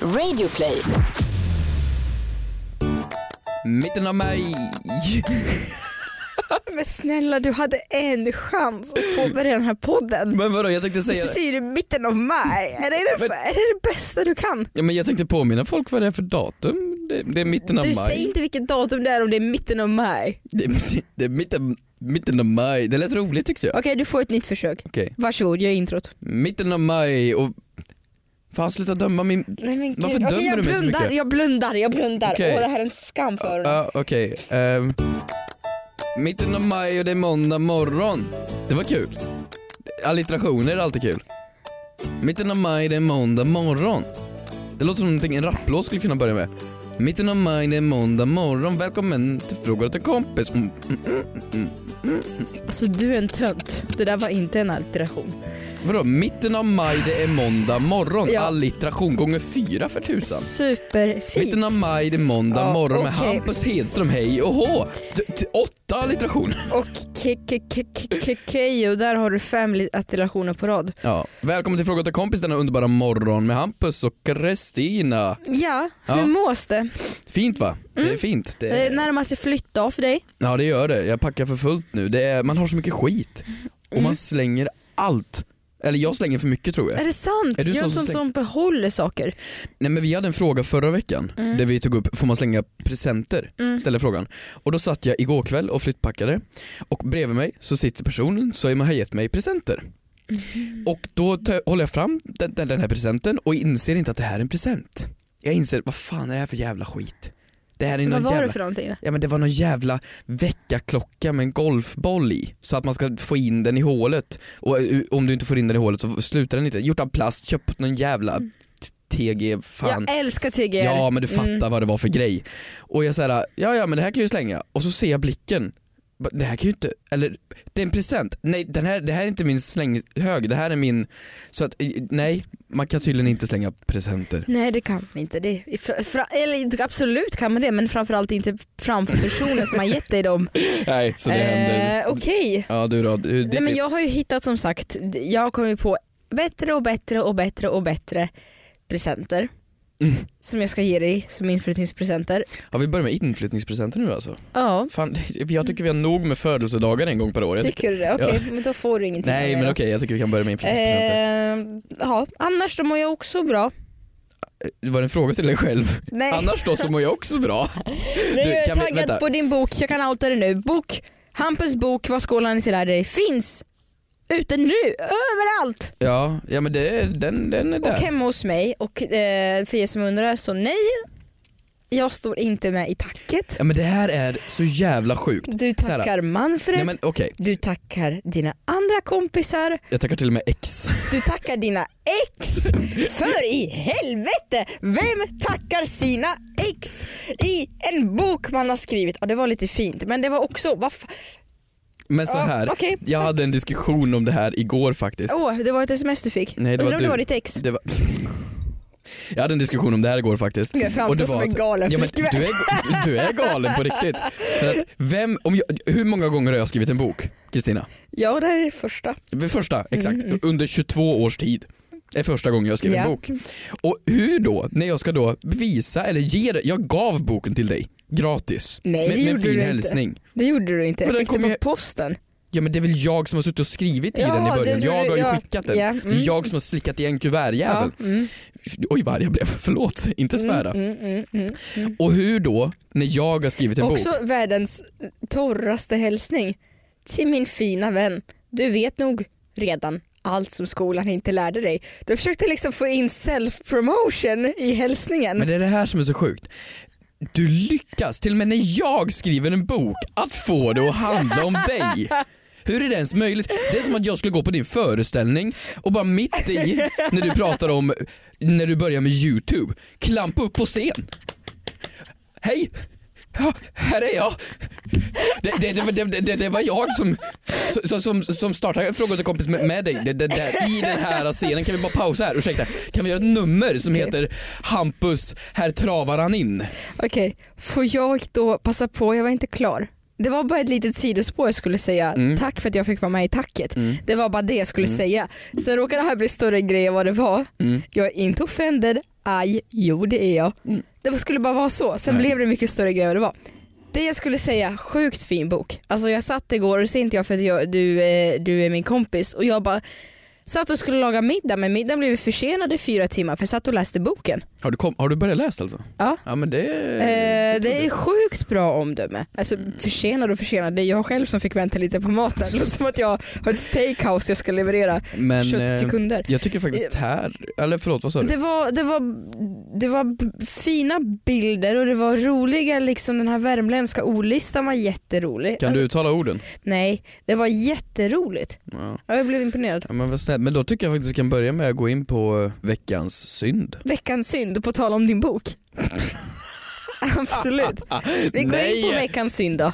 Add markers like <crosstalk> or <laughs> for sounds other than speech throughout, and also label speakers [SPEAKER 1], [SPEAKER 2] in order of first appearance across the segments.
[SPEAKER 1] Radioplay.
[SPEAKER 2] Mitten av mig.
[SPEAKER 3] <laughs> Men snälla du hade en chans att påbörja den här
[SPEAKER 2] <laughs>
[SPEAKER 3] podden.
[SPEAKER 2] Men vadå, jag tänkte
[SPEAKER 3] Du
[SPEAKER 2] säga
[SPEAKER 3] säger det i mitten av maj. Är det det, är det, det bästa du kan?
[SPEAKER 2] ja, men jag tänkte påminna folk vad det är för datum. Det, det är mitten av
[SPEAKER 3] Du
[SPEAKER 2] maj.
[SPEAKER 3] säger inte vilket datum det är om det är mitten av maj.
[SPEAKER 2] Det, är- det är mitten, mitten av maj. Det lät roligt tyckte jag.
[SPEAKER 3] Okej du får ett nytt försök.
[SPEAKER 2] Okej,
[SPEAKER 3] Varsågod, gör introt.
[SPEAKER 2] mitten av maj och... Fan sluta döma min...
[SPEAKER 3] Nej, men gud.
[SPEAKER 2] Varför
[SPEAKER 3] Okej,
[SPEAKER 2] dömer
[SPEAKER 3] jag
[SPEAKER 2] du mig så
[SPEAKER 3] blundar,
[SPEAKER 2] mycket?
[SPEAKER 3] Jag blundar, jag blundar.
[SPEAKER 2] Okej. Uh,
[SPEAKER 3] Åh det här är en skam för honom.
[SPEAKER 2] Ja, okej. Ehm, mitten av maj och det är måndag morgon. Det var kul. Allitterationer är alltid kul. Mitten av maj, det är måndag morgon. Det låter som någonting en rapplåt skulle kunna börja med. Mitten av maj, det är måndag morgon. Välkommen till Fråga åt en kompis. Mm, mm,
[SPEAKER 3] Alltså du är en tönt. Det där var inte en alliteration.
[SPEAKER 2] vadå? Mitten av maj, det är måndag morgon.
[SPEAKER 3] Ja.
[SPEAKER 2] Allitteration gånger fyra för tusan.
[SPEAKER 3] Superfint.
[SPEAKER 2] Mitten av maj, det är måndag
[SPEAKER 3] Ja,
[SPEAKER 2] morgon med
[SPEAKER 3] okej.
[SPEAKER 2] Hampus Hedström. Hej och hå! T- t- Åtta allitterationer.
[SPEAKER 3] Och Keyyo, där har du fem li- alliterationer på rad.
[SPEAKER 2] Ja. Välkommen till Fråga åt en kompis denna underbara morgon med Hampus och Kristina.
[SPEAKER 3] Ja,
[SPEAKER 2] Ja. Eh.
[SPEAKER 3] hur mås det?
[SPEAKER 2] Fint va? Det är fint. Mm. Det
[SPEAKER 3] Det närmar sig flyttdag för dig.
[SPEAKER 2] Ja det gör det. Jag packar för fullt nu. Det är... Man har så mycket skit. Och man slänger allt. Eller jag slänger för mycket tror jag.
[SPEAKER 3] Är det sant?
[SPEAKER 2] Mm. Är du
[SPEAKER 3] jag är
[SPEAKER 2] sån
[SPEAKER 3] en
[SPEAKER 2] som
[SPEAKER 3] sån
[SPEAKER 2] släng-
[SPEAKER 3] som behåller saker.
[SPEAKER 2] Nej men vi hade en fråga förra veckan där vi tog upp, får man slänga presenter? Ställde frågan. Och då satt jag igår kväll och flyttpackade och bredvid mig så sitter personen som har gett mig presenter.
[SPEAKER 3] Mm.
[SPEAKER 2] Och då tar, håller jag fram den, den, den här presenten och inser inte att det här är en present. Jag inser, vad fan är det här för jävla skit? Det här är
[SPEAKER 3] Vad
[SPEAKER 2] någon
[SPEAKER 3] var
[SPEAKER 2] jävla...
[SPEAKER 3] det för någonting?
[SPEAKER 2] Ja men det var någon jävla väckarklocka med en golfboll i så att man ska få in den i hålet och eh, om du inte får in den i hålet så slutar den inte. Gjort av plast, köpt någon jävla
[SPEAKER 3] Mm.
[SPEAKER 2] t- TG, fan.
[SPEAKER 3] Jag älskar TGR.
[SPEAKER 2] Ja men du fattar
[SPEAKER 3] Mm.
[SPEAKER 2] vad det var för grej. Och jag säger ja ja men det här kan jag ju slänga. Och så ser jag blicken. Ba, Det här kan ju inte, eller det är en present. Nej den här, det här är inte min slänghög, det här är min. Så att eh, nej, man kan tydligen inte slänga presenter.
[SPEAKER 3] Nej det kan man inte. Det är fra, fra, eller absolut kan man det men framförallt inte framför personen som har gett dig dem.
[SPEAKER 2] <laughs> Nej <laughs> så det händer.
[SPEAKER 3] Eh, Okej.
[SPEAKER 2] Ja du då, du,
[SPEAKER 3] Nej, men jag har ju hittat som sagt, jag har kommit på bättre och bättre och bättre och bättre presenter.
[SPEAKER 2] Mm.
[SPEAKER 3] Som jag ska ge dig som inflyttningspresenter.
[SPEAKER 2] Ja, vi börjar med inflyttningspresenter nu alltså.
[SPEAKER 3] Ja,
[SPEAKER 2] Fan, <laughs> jag tycker vi har nog med födelsedagar en gång per år. Jag tycker-
[SPEAKER 3] tycker du det? Okej, men då får du ingenting.
[SPEAKER 2] Nej
[SPEAKER 3] av det
[SPEAKER 2] men
[SPEAKER 3] då.
[SPEAKER 2] okej, jag tycker vi kan börja med inflyttningspresenter.
[SPEAKER 3] Eh, ja, annars då mår jag också bra.
[SPEAKER 2] Det Eh, var en fråga till dig själv.
[SPEAKER 3] Nej,
[SPEAKER 2] Annars då så mår jag också <laughs> bra.
[SPEAKER 3] nu
[SPEAKER 2] du,
[SPEAKER 3] är jag
[SPEAKER 2] kan vi-
[SPEAKER 3] taggad
[SPEAKER 2] vänta.
[SPEAKER 3] på din bok, jag kan outa det nu. Bok, Hampus bok, Vad skålarna till lärde dig finns ute nu, överallt!
[SPEAKER 2] Ja, ja men det, den, den är där.
[SPEAKER 3] Och hemma hos mig och eh, för er som undrar så nej, jag står inte med i tacket.
[SPEAKER 2] Ja men det här är så jävla sjukt.
[SPEAKER 3] Du
[SPEAKER 2] Så här.
[SPEAKER 3] tackar Manfred,
[SPEAKER 2] Nej men okej,
[SPEAKER 3] du tackar dina andra kompisar,
[SPEAKER 2] jag tackar till och med ex.
[SPEAKER 3] du tackar dina ex. För i helvete, vem tackar sina ex i en bok man har skrivit? Ja, det var lite fint, men det var också... Vad fa-
[SPEAKER 2] <laughs> Men så
[SPEAKER 3] Ja,
[SPEAKER 2] här,
[SPEAKER 3] okej. Oh.
[SPEAKER 2] jag hade en diskussion om det här igår faktiskt.
[SPEAKER 3] Åh, det var ett sms du fick.
[SPEAKER 2] Nej, det var
[SPEAKER 3] Undrar om
[SPEAKER 2] du.
[SPEAKER 3] det var ditt ex?
[SPEAKER 2] Det var... <laughs> Jag hade en diskussion om det här igår faktiskt.
[SPEAKER 3] Jag framstår
[SPEAKER 2] Och det
[SPEAKER 3] som
[SPEAKER 2] var
[SPEAKER 3] en
[SPEAKER 2] att-
[SPEAKER 3] galen
[SPEAKER 2] ja, men du,
[SPEAKER 3] flickvän.
[SPEAKER 2] är, du är galen på riktigt. För att vem, om jag, hur många gånger har jag skrivit en bok, Kristina?
[SPEAKER 3] Ja, det här är det första.
[SPEAKER 2] Vid Första, exakt. Under 22 års tid. Det är första gången jag skrev
[SPEAKER 3] Mhm. Ja.
[SPEAKER 2] en bok. Och hur då, när jag ska då visa eller ge dig, jag gav boken till dig gratis.
[SPEAKER 3] Nej,
[SPEAKER 2] med,
[SPEAKER 3] det
[SPEAKER 2] med en
[SPEAKER 3] gjorde
[SPEAKER 2] fin
[SPEAKER 3] du inte.
[SPEAKER 2] hälsning.
[SPEAKER 3] Det gjorde du
[SPEAKER 2] Men
[SPEAKER 3] inte. Jag
[SPEAKER 2] den
[SPEAKER 3] fick
[SPEAKER 2] kom
[SPEAKER 3] det på
[SPEAKER 2] ju-
[SPEAKER 3] posten.
[SPEAKER 2] Ja men det är väl jag som har suttit och skrivit i
[SPEAKER 3] Ja,
[SPEAKER 2] den i
[SPEAKER 3] det
[SPEAKER 2] början.
[SPEAKER 3] tror
[SPEAKER 2] Jag
[SPEAKER 3] du-
[SPEAKER 2] har ju
[SPEAKER 3] ja.
[SPEAKER 2] skickat den.
[SPEAKER 3] Ja,
[SPEAKER 2] Det
[SPEAKER 3] mm.
[SPEAKER 2] är jag som har slickat i en kuvertjävel.
[SPEAKER 3] mm.
[SPEAKER 2] Oj vad arg jag blev, <laughs> förlåt. Inte svära.
[SPEAKER 3] Mm, mm, mm.
[SPEAKER 2] Och hur då, när jag har skrivit en
[SPEAKER 3] Också
[SPEAKER 2] bok.
[SPEAKER 3] världens torraste hälsning. Till min fina vän. Du vet nog redan allt som skolan inte lärde dig. Du försökte liksom få in self-promotion i hälsningen.
[SPEAKER 2] Men det är det här som är så sjukt. Du lyckas, till och med när jag skriver en bok, att få det att handla om
[SPEAKER 3] <laughs>
[SPEAKER 2] dig. Hur är det ens möjligt? Det är som att jag skulle gå på din föreställning och bara mitt i, när du pratar om, när du börjar med YouTube, klampa upp på scen. Hej! Ja, här är jag. Det, det, det, det, det, det, det var jag som, som, som, som startade Fråga till kompis med, med dig. Det, det, det, I den här scenen, kan vi bara pausa här? Ursäkta, kan vi göra ett nummer som heter Hampus, här travar han in?
[SPEAKER 3] Okej, får jag då passa på? Jag var inte klar. Det var bara ett litet sidospår jag skulle säga.
[SPEAKER 2] Mm.
[SPEAKER 3] Tack för att jag fick vara med i tacket.
[SPEAKER 2] Mm.
[SPEAKER 3] Det var bara det jag skulle
[SPEAKER 2] Mm.
[SPEAKER 3] säga. Sen råkade det här bli större grej än vad det var.
[SPEAKER 2] Mm.
[SPEAKER 3] Jag är inte offended. Aj, jo det är jag.
[SPEAKER 2] Mm.
[SPEAKER 3] Det var- skulle bara vara så. Sen
[SPEAKER 2] Nej.
[SPEAKER 3] blev det mycket större grej än vad det var. Det jag skulle säga, sjukt fin bok. Alltså jag satt igår, och det säger inte jag för att jag, du, eh, du är min kompis, och jag bara satt och skulle laga middag men middagen blev försenad i fyra timmar för jag satt och läste boken.
[SPEAKER 2] Har, du kom, har du börjat läsa alltså?
[SPEAKER 3] Ja.
[SPEAKER 2] Ja men det...
[SPEAKER 3] Eh,
[SPEAKER 2] trodde Mm.
[SPEAKER 3] det är sjukt bra omdöme. Alltså försenad och försenad, det är jag själv som fick vänta lite på maten. Det låter som att jag har ett steakhouse jag ska leverera
[SPEAKER 2] jag. men,
[SPEAKER 3] kött till
[SPEAKER 2] eh,
[SPEAKER 3] kunder.
[SPEAKER 2] Jag tycker faktiskt här, eller förlåt vad sa du?
[SPEAKER 3] Det var, det, var, det var b- fina bilder och det var roliga, liksom den här värmländska ordlistan var jätterolig.
[SPEAKER 2] Kan du uttala orden?
[SPEAKER 3] Alltså, nej, det var jätteroligt.
[SPEAKER 2] Ja.
[SPEAKER 3] Ja, Jag blev imponerad.
[SPEAKER 2] Ja, men, vad snällt. men då tycker jag faktiskt vi kan börja med att gå in på eh, veckans synd.
[SPEAKER 3] Veckans synd, på tal om
[SPEAKER 2] <laughs>
[SPEAKER 3] din bok. Absolut. Vi går in på veckans synd då.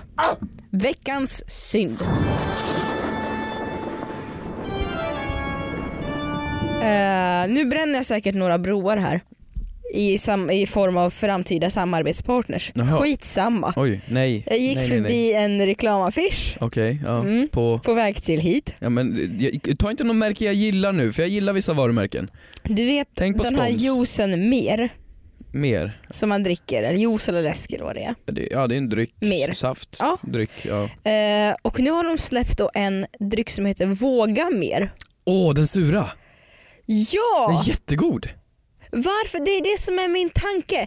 [SPEAKER 3] Veckans synd. Eh, nu bränner jag säkert några broar här. I, sam- I form av framtida samarbetspartners.
[SPEAKER 2] Jaha.
[SPEAKER 3] Skitsamma.
[SPEAKER 2] Oj, nej.
[SPEAKER 3] Jag gick
[SPEAKER 2] nej, nej,
[SPEAKER 3] förbi
[SPEAKER 2] nej.
[SPEAKER 3] en reklamaffisch
[SPEAKER 2] Okej, ja.
[SPEAKER 3] Mm.
[SPEAKER 2] På...
[SPEAKER 3] på väg till hit.
[SPEAKER 2] Ja, men, jag, ta inte någon märke jag gillar nu, för jag gillar vissa varumärken.
[SPEAKER 3] Du vet
[SPEAKER 2] Tänk på
[SPEAKER 3] den här
[SPEAKER 2] spons.
[SPEAKER 3] juicen mer
[SPEAKER 2] Mer.
[SPEAKER 3] som man dricker, eller juice eller läsk eller vad det är.
[SPEAKER 2] Ja, det- Ja, det är en dryck.
[SPEAKER 3] Mer.
[SPEAKER 2] Saft.
[SPEAKER 3] Ja.
[SPEAKER 2] Dryck, ja.
[SPEAKER 3] Eh, och nu har de släppt då en dryck som heter Våga mer.
[SPEAKER 2] Åh, den sura.
[SPEAKER 3] Ja!
[SPEAKER 2] Den är jättegod.
[SPEAKER 3] Varför? Det är det som är min tanke.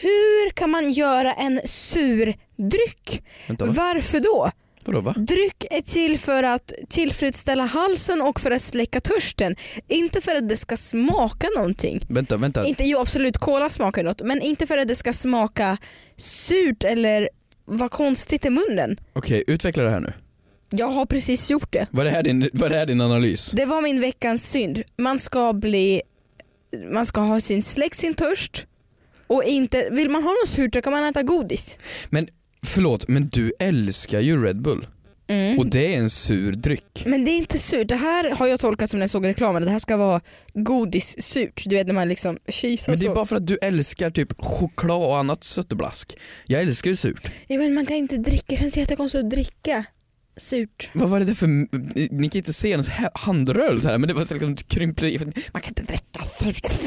[SPEAKER 3] Hur kan man göra en sur dryck?
[SPEAKER 2] Vänta, va?
[SPEAKER 3] Varför då?
[SPEAKER 2] Vadå, va?
[SPEAKER 3] Dryck är till för att tillfredsställa halsen och för att släcka törsten. Inte för att det ska smaka någonting.
[SPEAKER 2] Vänta, vänta.
[SPEAKER 3] Inte, jo absolut, cola smakar något men inte för att det ska smaka surt eller vad konstigt i munnen.
[SPEAKER 2] Okej, utveckla det här nu.
[SPEAKER 3] Jag har precis gjort det.
[SPEAKER 2] Vad är det här din, vad är det här din analys?
[SPEAKER 3] Det var min veckans synd. Man ska bli man ska ha sin släkt sin törst och inte, vill man ha något surt då kan man äta godis.
[SPEAKER 2] Men förlåt, men du älskar ju Red Bull. Och det är en sur dryck.
[SPEAKER 3] Men det är inte surt. Det här har jag tolkat som när jag såg reklamen. Det här ska vara godissurt. Du vet när man liksom kisar
[SPEAKER 2] Men det är
[SPEAKER 3] så.
[SPEAKER 2] bara för att du älskar typ choklad och annat söteblask. Jag älskar ju surt.
[SPEAKER 3] Ja, men man kan inte dricka. Det känns jättekonstigt att dricka surt.
[SPEAKER 2] Vad var det där för, ni kan inte se ens hä- handrörelse här men det var så liksom krymplig, man kan inte dricka surt.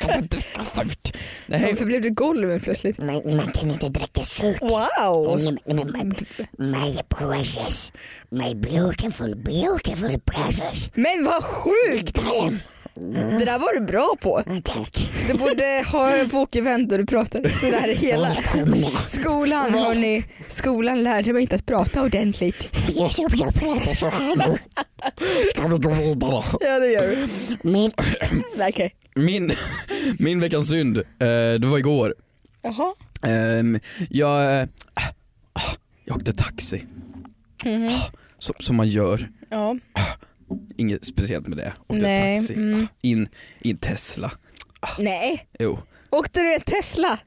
[SPEAKER 2] Man kan inte dricka surt. Nej,
[SPEAKER 3] Varför blev du Gollum plötsligt?
[SPEAKER 1] Man, man kan inte dricka surt.
[SPEAKER 3] Wow!
[SPEAKER 1] Only my, my precious, my beautiful, beautiful precious.
[SPEAKER 3] Men vad sjukt! Det där var du bra på.
[SPEAKER 1] Tack.
[SPEAKER 3] Du borde ha en bokevent där du pratar sådär hela.
[SPEAKER 1] Välkomna.
[SPEAKER 3] Skolan hörni, skolan lärde mig inte att prata ordentligt.
[SPEAKER 1] Jag som jag pratar så här nu. Ska vi gå vidare?
[SPEAKER 3] Ja det gör vi.
[SPEAKER 1] Min,
[SPEAKER 3] Nej, Okej.
[SPEAKER 2] min, min veckans synd, eh, det var igår.
[SPEAKER 3] Jaha.
[SPEAKER 2] Ehm, jag, eh, ah, jag åkte taxi, Ah,
[SPEAKER 3] Mhm.
[SPEAKER 2] som, som man gör.
[SPEAKER 3] Ja.
[SPEAKER 2] Inget speciellt med det. Åkte
[SPEAKER 3] Nej,
[SPEAKER 2] taxi,
[SPEAKER 3] mm.
[SPEAKER 2] Ah, in i en Tesla.
[SPEAKER 3] Nej.
[SPEAKER 2] Jo,
[SPEAKER 3] Åkte du en Tesla?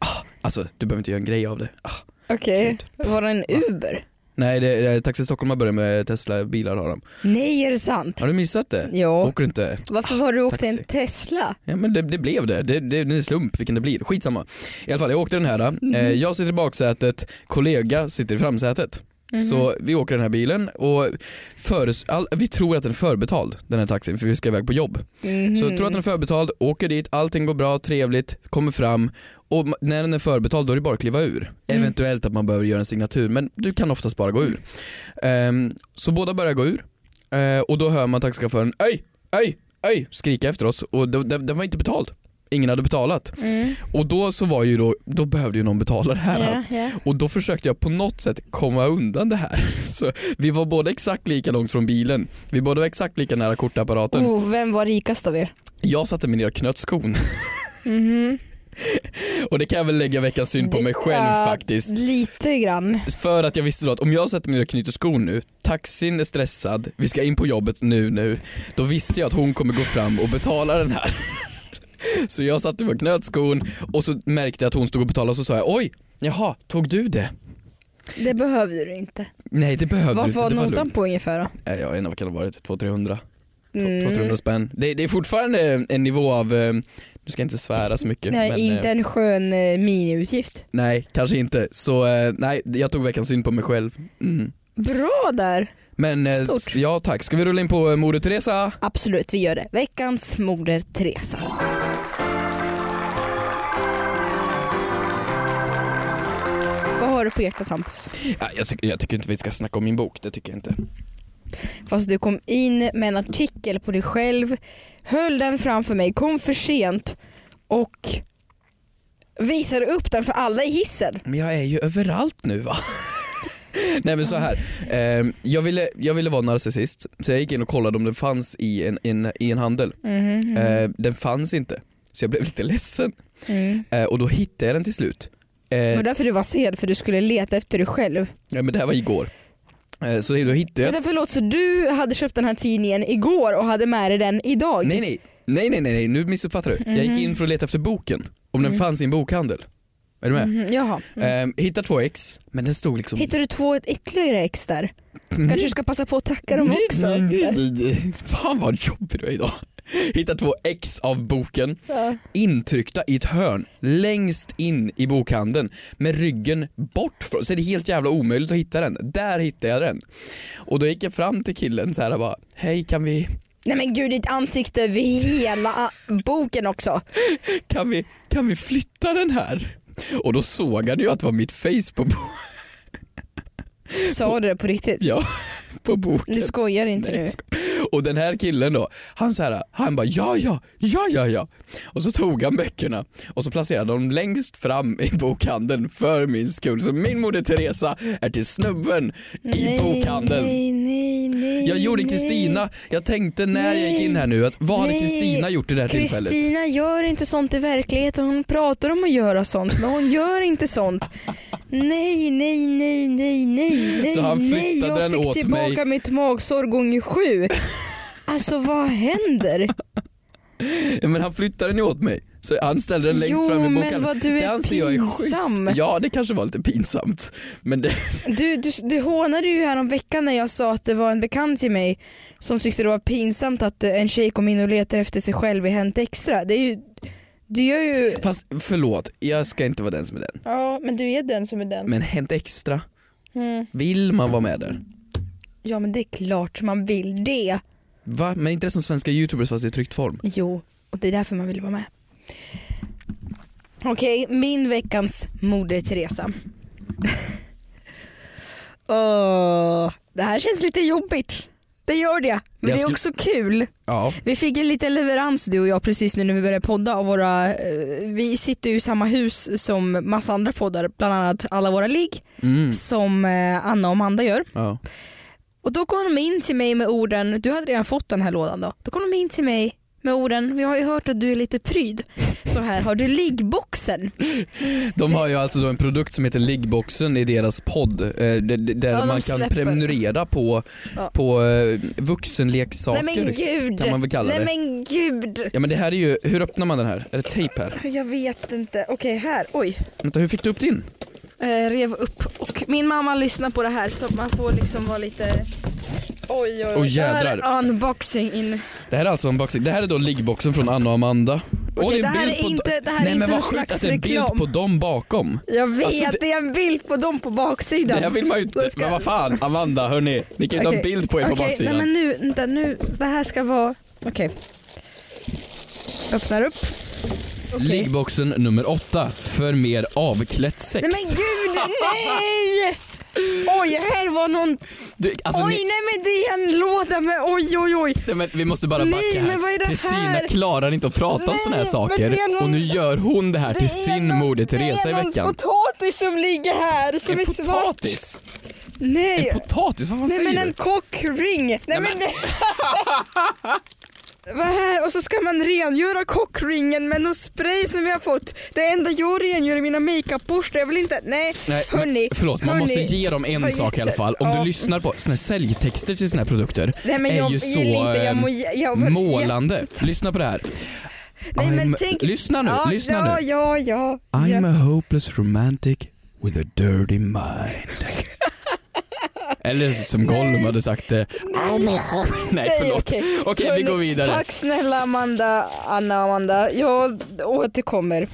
[SPEAKER 2] alltså du behöver inte göra en grej av det. Ah,
[SPEAKER 3] Okej. Var det en Uber?
[SPEAKER 2] Nej, det, det, Taxi Stockholm har börjat med Tesla-bilar har de.
[SPEAKER 3] Nej är det sant?
[SPEAKER 2] Har du missat det?
[SPEAKER 3] Ja.
[SPEAKER 2] Åker du inte?
[SPEAKER 3] Varför har du åkt
[SPEAKER 2] taxi.
[SPEAKER 3] en Tesla?
[SPEAKER 2] Ja men det, det blev det. Det, det, det är en slump vilken det blir. Skitsamma. I alla fall jag åkte den här. Eh, jag sitter i baksätet, kollega sitter i framsätet. Så vi åker den här bilen och föres- all, vi tror att den är förbetald den här taxin för vi ska iväg på jobb. Så
[SPEAKER 3] Mm.
[SPEAKER 2] jag tror att den är förbetald, åker dit, allting går bra, trevligt, kommer fram och ma- när den är förbetald då är det bara att kliva ur. Eventuellt att man behöver göra en signatur men du kan oftast bara gå ur. Ehm, så båda börjar gå ur eh, och då hör man taxichauffören Öj! Öj! Öj! skrika efter oss och då- den den var inte betald. Ingen hade betalat.
[SPEAKER 3] Mm.
[SPEAKER 2] Och då så var ju då, då behövde ju någon betala det här.
[SPEAKER 3] Ja, ja.
[SPEAKER 2] Och då försökte jag på något sätt komma undan det här. <laughs> Så vi var båda exakt lika långt från bilen. Vi båda var exakt lika nära kortapparaten.
[SPEAKER 3] Oh, vem var rikast av er?
[SPEAKER 2] Jag satte mig ner och knöt skon.
[SPEAKER 3] Mhm.
[SPEAKER 2] <laughs> Och det kan jag väl lägga veckans synd på mig själv
[SPEAKER 3] Ja,
[SPEAKER 2] faktiskt.
[SPEAKER 3] Lite grann.
[SPEAKER 2] För att jag visste då att om jag sätter mig ner och knyter skon nu, taxin är stressad, vi ska in på jobbet nu nu. Då visste jag att hon kommer gå fram och betala den här. <laughs> Så jag satte mig och knöt skon och så märkte jag att hon stod och betalade och så sa jag oj, jaha, tog du det?
[SPEAKER 3] Det behövde du inte.
[SPEAKER 2] Nej det behövde du
[SPEAKER 3] Vad
[SPEAKER 2] inte,
[SPEAKER 3] var
[SPEAKER 2] det var
[SPEAKER 3] notan
[SPEAKER 2] lugnt.
[SPEAKER 3] på ungefär då?
[SPEAKER 2] Nej, Jag vet inte vad kan det ha varit, 200-300?
[SPEAKER 3] Mm.
[SPEAKER 2] 200 spänn. Det, det är fortfarande en nivå av eh, Du ska inte svära så mycket.
[SPEAKER 3] Nej,
[SPEAKER 2] men, eh,
[SPEAKER 3] inte en skön eh, miniutgift.
[SPEAKER 2] Nej, kanske inte. Så eh, nej, jag tog veckans synd på mig själv. Mm.
[SPEAKER 3] Bra där!
[SPEAKER 2] Men eh,
[SPEAKER 3] Stort.
[SPEAKER 2] ja tack, ska vi rulla in på eh, Moder Teresa?
[SPEAKER 3] Absolut, vi gör det. Veckans Moder Teresa. Vad har du på hjärtat Hampus?
[SPEAKER 2] Ja, jag, tycker- jag tycker inte vi ska snacka om min bok, det tycker jag inte.
[SPEAKER 3] Fast du kom in med en artikel på dig själv, höll den framför mig, kom för sent och visade upp den för alla i hissen.
[SPEAKER 2] Men jag är ju överallt nu va? <laughs> Nej men så här. Eh, jag, ville, jag ville vara narcissist så jag gick in och kollade om den fanns i en, en, i en handel. Eh, den fanns inte. Så jag blev lite ledsen
[SPEAKER 3] Mm.
[SPEAKER 2] eh, och då hittade jag den till slut. Eh,
[SPEAKER 3] Det var därför du var sen, för du skulle leta efter dig själv.
[SPEAKER 2] ja, men det här var igår. Eh, så då hittade jag
[SPEAKER 3] Vänta förlåt, så du hade köpt den här tidningen igår och hade med dig den idag?
[SPEAKER 2] Nej nej, nej nej nej, nej. nu missuppfattar du. Jag
[SPEAKER 3] Mhm.
[SPEAKER 2] gick in för att leta efter boken, om
[SPEAKER 3] Mm.
[SPEAKER 2] den fanns i en bokhandel. Är du med?
[SPEAKER 3] Mhm, jaha.
[SPEAKER 2] Eh, hittar två ex, men den stod liksom...
[SPEAKER 3] Hittar du två ytterligare ex där?
[SPEAKER 2] Mm.
[SPEAKER 3] Kanske du ska passa på att tacka dem också?
[SPEAKER 2] Nej, nej, nej, nej. Fan vad jobbig du är idag. Hittar två ex av boken,
[SPEAKER 3] Ja.
[SPEAKER 2] intryckta i ett hörn, längst in i bokhandeln, med ryggen bort från, så är det helt jävla omöjligt att hitta den. Där hittade jag den. Och då gick jag fram till killen så här och bara, hej kan vi,
[SPEAKER 3] Nej men gud, ditt ansikte över hela a- boken också.
[SPEAKER 2] kan vi, kan vi flytta den här? Och då såg han ju att det var mitt face på, bo- <laughs>
[SPEAKER 3] Sa du det på riktigt?
[SPEAKER 2] ja, på boken.
[SPEAKER 3] Du skojar inte
[SPEAKER 2] Nej,
[SPEAKER 3] nu?
[SPEAKER 2] jag skojar. Och den här killen då, han så här, han bara ja, ja, ja, ja, ja. Och så tog han böckerna och så placerade de längst fram i bokhandeln för min skull. Så min moder Teresa är till snubben i bokhandeln.
[SPEAKER 3] Nej, nej, nej.
[SPEAKER 2] Jag gjorde
[SPEAKER 3] nej.
[SPEAKER 2] Kristina, jag tänkte när jag gick in här nu att vad hade
[SPEAKER 3] Nej.
[SPEAKER 2] Kristina gjort i det här tillfället?
[SPEAKER 3] Kristina gör inte sånt i verkligheten. Hon pratar om att göra sånt men hon gör inte sånt. Nej, nej, nej, nej, nej, nej,
[SPEAKER 2] Så han
[SPEAKER 3] nej.
[SPEAKER 2] flyttade
[SPEAKER 3] Jag
[SPEAKER 2] den
[SPEAKER 3] fick
[SPEAKER 2] åt
[SPEAKER 3] tillbaka
[SPEAKER 2] mig.
[SPEAKER 3] mitt magsår
[SPEAKER 2] <laughs>
[SPEAKER 3] gånger sju. Alltså vad händer?
[SPEAKER 2] Men han flyttade den ju åt mig. Så han ställde den längst
[SPEAKER 3] Jo,
[SPEAKER 2] fram i
[SPEAKER 3] men
[SPEAKER 2] bokhandeln.
[SPEAKER 3] vad du är
[SPEAKER 2] det anser jag är
[SPEAKER 3] pinsam.
[SPEAKER 2] schysst. Ja det kanske var lite pinsamt. Men det,
[SPEAKER 3] Du, du, du hånade ju här om veckan när jag sa att det var en bekant till mig som tyckte det var pinsamt att eh, en tjej kom in och letade efter sig själv i Hänt Extra. Det är ju, du gör ju...
[SPEAKER 2] fast förlåt, jag ska inte vara den som är den.
[SPEAKER 3] Ja, men du är den som är den.
[SPEAKER 2] Men Hänt Extra,
[SPEAKER 3] Mm.
[SPEAKER 2] vill man vara med där?
[SPEAKER 3] Ja, men det är klart man vill det.
[SPEAKER 2] Va? Men inte det som svenska youtubers fast i tryckt form?
[SPEAKER 3] Jo, och det är därför man vill vara med. Okej, min veckans Moder Teresa. <laughs> Åh, det här känns lite jobbigt. Det gör det,
[SPEAKER 2] Jag
[SPEAKER 3] men det är
[SPEAKER 2] skulle-
[SPEAKER 3] också kul.
[SPEAKER 2] Ja.
[SPEAKER 3] Vi fick en liten leverans du och jag precis nu när vi började podda av våra, eh, vi sitter ju i samma hus som massa andra poddar, bland annat alla våra ligg
[SPEAKER 2] Mm.
[SPEAKER 3] som eh, Anna och Amanda gör.
[SPEAKER 2] ja.
[SPEAKER 3] Och då kom de in till mig med orden, du hade redan fått den här lådan då, då kom de in till mig med orden, vi har ju hört att du är lite pryd, så här har du liggboxen.
[SPEAKER 2] De har ju alltså då en produkt som heter Liggboxen i deras podd eh, d- d- där
[SPEAKER 3] Ja, de
[SPEAKER 2] man kan
[SPEAKER 3] släpper.
[SPEAKER 2] prenumerera på,
[SPEAKER 3] Ja.
[SPEAKER 2] på eh, vuxenleksaker.
[SPEAKER 3] Nej men gud!
[SPEAKER 2] kan man väl kalla
[SPEAKER 3] Nej
[SPEAKER 2] det.
[SPEAKER 3] men gud!
[SPEAKER 2] Ja men det här är ju, hur öppnar man den här? Är det tejp här?
[SPEAKER 3] Jag vet inte, okej här, oj.
[SPEAKER 2] Vänta, hur fick du upp din?
[SPEAKER 3] Eh, rev upp och min mamma lyssnar på det här så man får liksom vara lite Oj oj oj.
[SPEAKER 2] Åh,
[SPEAKER 3] Det här är
[SPEAKER 2] jädrar.
[SPEAKER 3] unboxing in.
[SPEAKER 2] Det här är alltså en boxing. Det här är då liggboxen från Anna och Amanda. och
[SPEAKER 3] Okej,
[SPEAKER 2] är
[SPEAKER 3] det
[SPEAKER 2] en
[SPEAKER 3] här
[SPEAKER 2] bild
[SPEAKER 3] är
[SPEAKER 2] på-
[SPEAKER 3] inte, det här
[SPEAKER 2] Nej
[SPEAKER 3] är inte
[SPEAKER 2] men
[SPEAKER 3] någon
[SPEAKER 2] vad sjukt
[SPEAKER 3] slags
[SPEAKER 2] att det är en bild
[SPEAKER 3] reklam.
[SPEAKER 2] på dem bakom.
[SPEAKER 3] Jag vet,
[SPEAKER 2] Alltså, det-
[SPEAKER 3] det... är en bild på dem på
[SPEAKER 2] Det
[SPEAKER 3] baksidan.
[SPEAKER 2] här vill man ju inte,
[SPEAKER 3] Då ska-
[SPEAKER 2] men vad fan Amanda hörni, ni kan ju ta en
[SPEAKER 3] Okej,
[SPEAKER 2] bild på er på
[SPEAKER 3] okej,
[SPEAKER 2] baksidan.
[SPEAKER 3] Nej men nu, vänta, nu, det här ska vara, okej. Öppnar upp. Okej.
[SPEAKER 2] Liggboxen nummer åtta för mer avklätt sex.
[SPEAKER 3] Nej
[SPEAKER 2] <laughs>
[SPEAKER 3] men gud, nej! Oj, här var någon,
[SPEAKER 2] du, alltså,
[SPEAKER 3] oj
[SPEAKER 2] ni,
[SPEAKER 3] nej men det är en låda med, oj oj oj.
[SPEAKER 2] nej, men vi måste bara
[SPEAKER 3] Nej,
[SPEAKER 2] backa här.
[SPEAKER 3] men vad är det
[SPEAKER 2] Kristina
[SPEAKER 3] här?
[SPEAKER 2] klarar inte att prata om
[SPEAKER 3] Nej,
[SPEAKER 2] såna här
[SPEAKER 3] men
[SPEAKER 2] saker
[SPEAKER 3] det är någon-
[SPEAKER 2] och nu gör hon det här till sin moder Teresa i
[SPEAKER 3] Det är någon
[SPEAKER 2] veckan.
[SPEAKER 3] potatis som ligger här som
[SPEAKER 2] En
[SPEAKER 3] är svart.
[SPEAKER 2] potatis?
[SPEAKER 3] Nej,
[SPEAKER 2] En potatis? Vad fan
[SPEAKER 3] nej
[SPEAKER 2] säger
[SPEAKER 3] men en
[SPEAKER 2] du?
[SPEAKER 3] kockring. Nej, men det... <laughs> Vad här? Och så ska man rengöra kockringen med någon spray som vi har fått. Det enda jag rengör är mina makeupborstar. Jag vill inte... Nej,
[SPEAKER 2] Nej, men
[SPEAKER 3] hörni.
[SPEAKER 2] förlåt, man
[SPEAKER 3] hörni.
[SPEAKER 2] måste ge dem en
[SPEAKER 3] Vad
[SPEAKER 2] sak i alla
[SPEAKER 3] heter-
[SPEAKER 2] fall. Om
[SPEAKER 3] ja.
[SPEAKER 2] du lyssnar på såna här säljtexter till såna här produkter
[SPEAKER 3] Nej men
[SPEAKER 2] är
[SPEAKER 3] jag
[SPEAKER 2] ju
[SPEAKER 3] gillar
[SPEAKER 2] så
[SPEAKER 3] inte, jag
[SPEAKER 2] ehm,
[SPEAKER 3] må, jag var
[SPEAKER 2] målande. Lyssna på det här.
[SPEAKER 3] Nej, men
[SPEAKER 2] I'm-
[SPEAKER 3] tänk-
[SPEAKER 2] Lyssna nu,
[SPEAKER 3] ja,
[SPEAKER 2] lyssna nu.
[SPEAKER 3] ja, Ja, ja, ja. <laughs>
[SPEAKER 2] I'm a hopeless romantic with a dirty mind. Eller som Gollum hade sagt eh, det.
[SPEAKER 1] Nej, men jag-
[SPEAKER 2] Nej förlåt.
[SPEAKER 3] Nej,
[SPEAKER 2] Okej vi
[SPEAKER 3] Hörni,
[SPEAKER 2] går vidare.
[SPEAKER 3] Tack snälla Amanda, Anna och Amanda. Jag återkommer.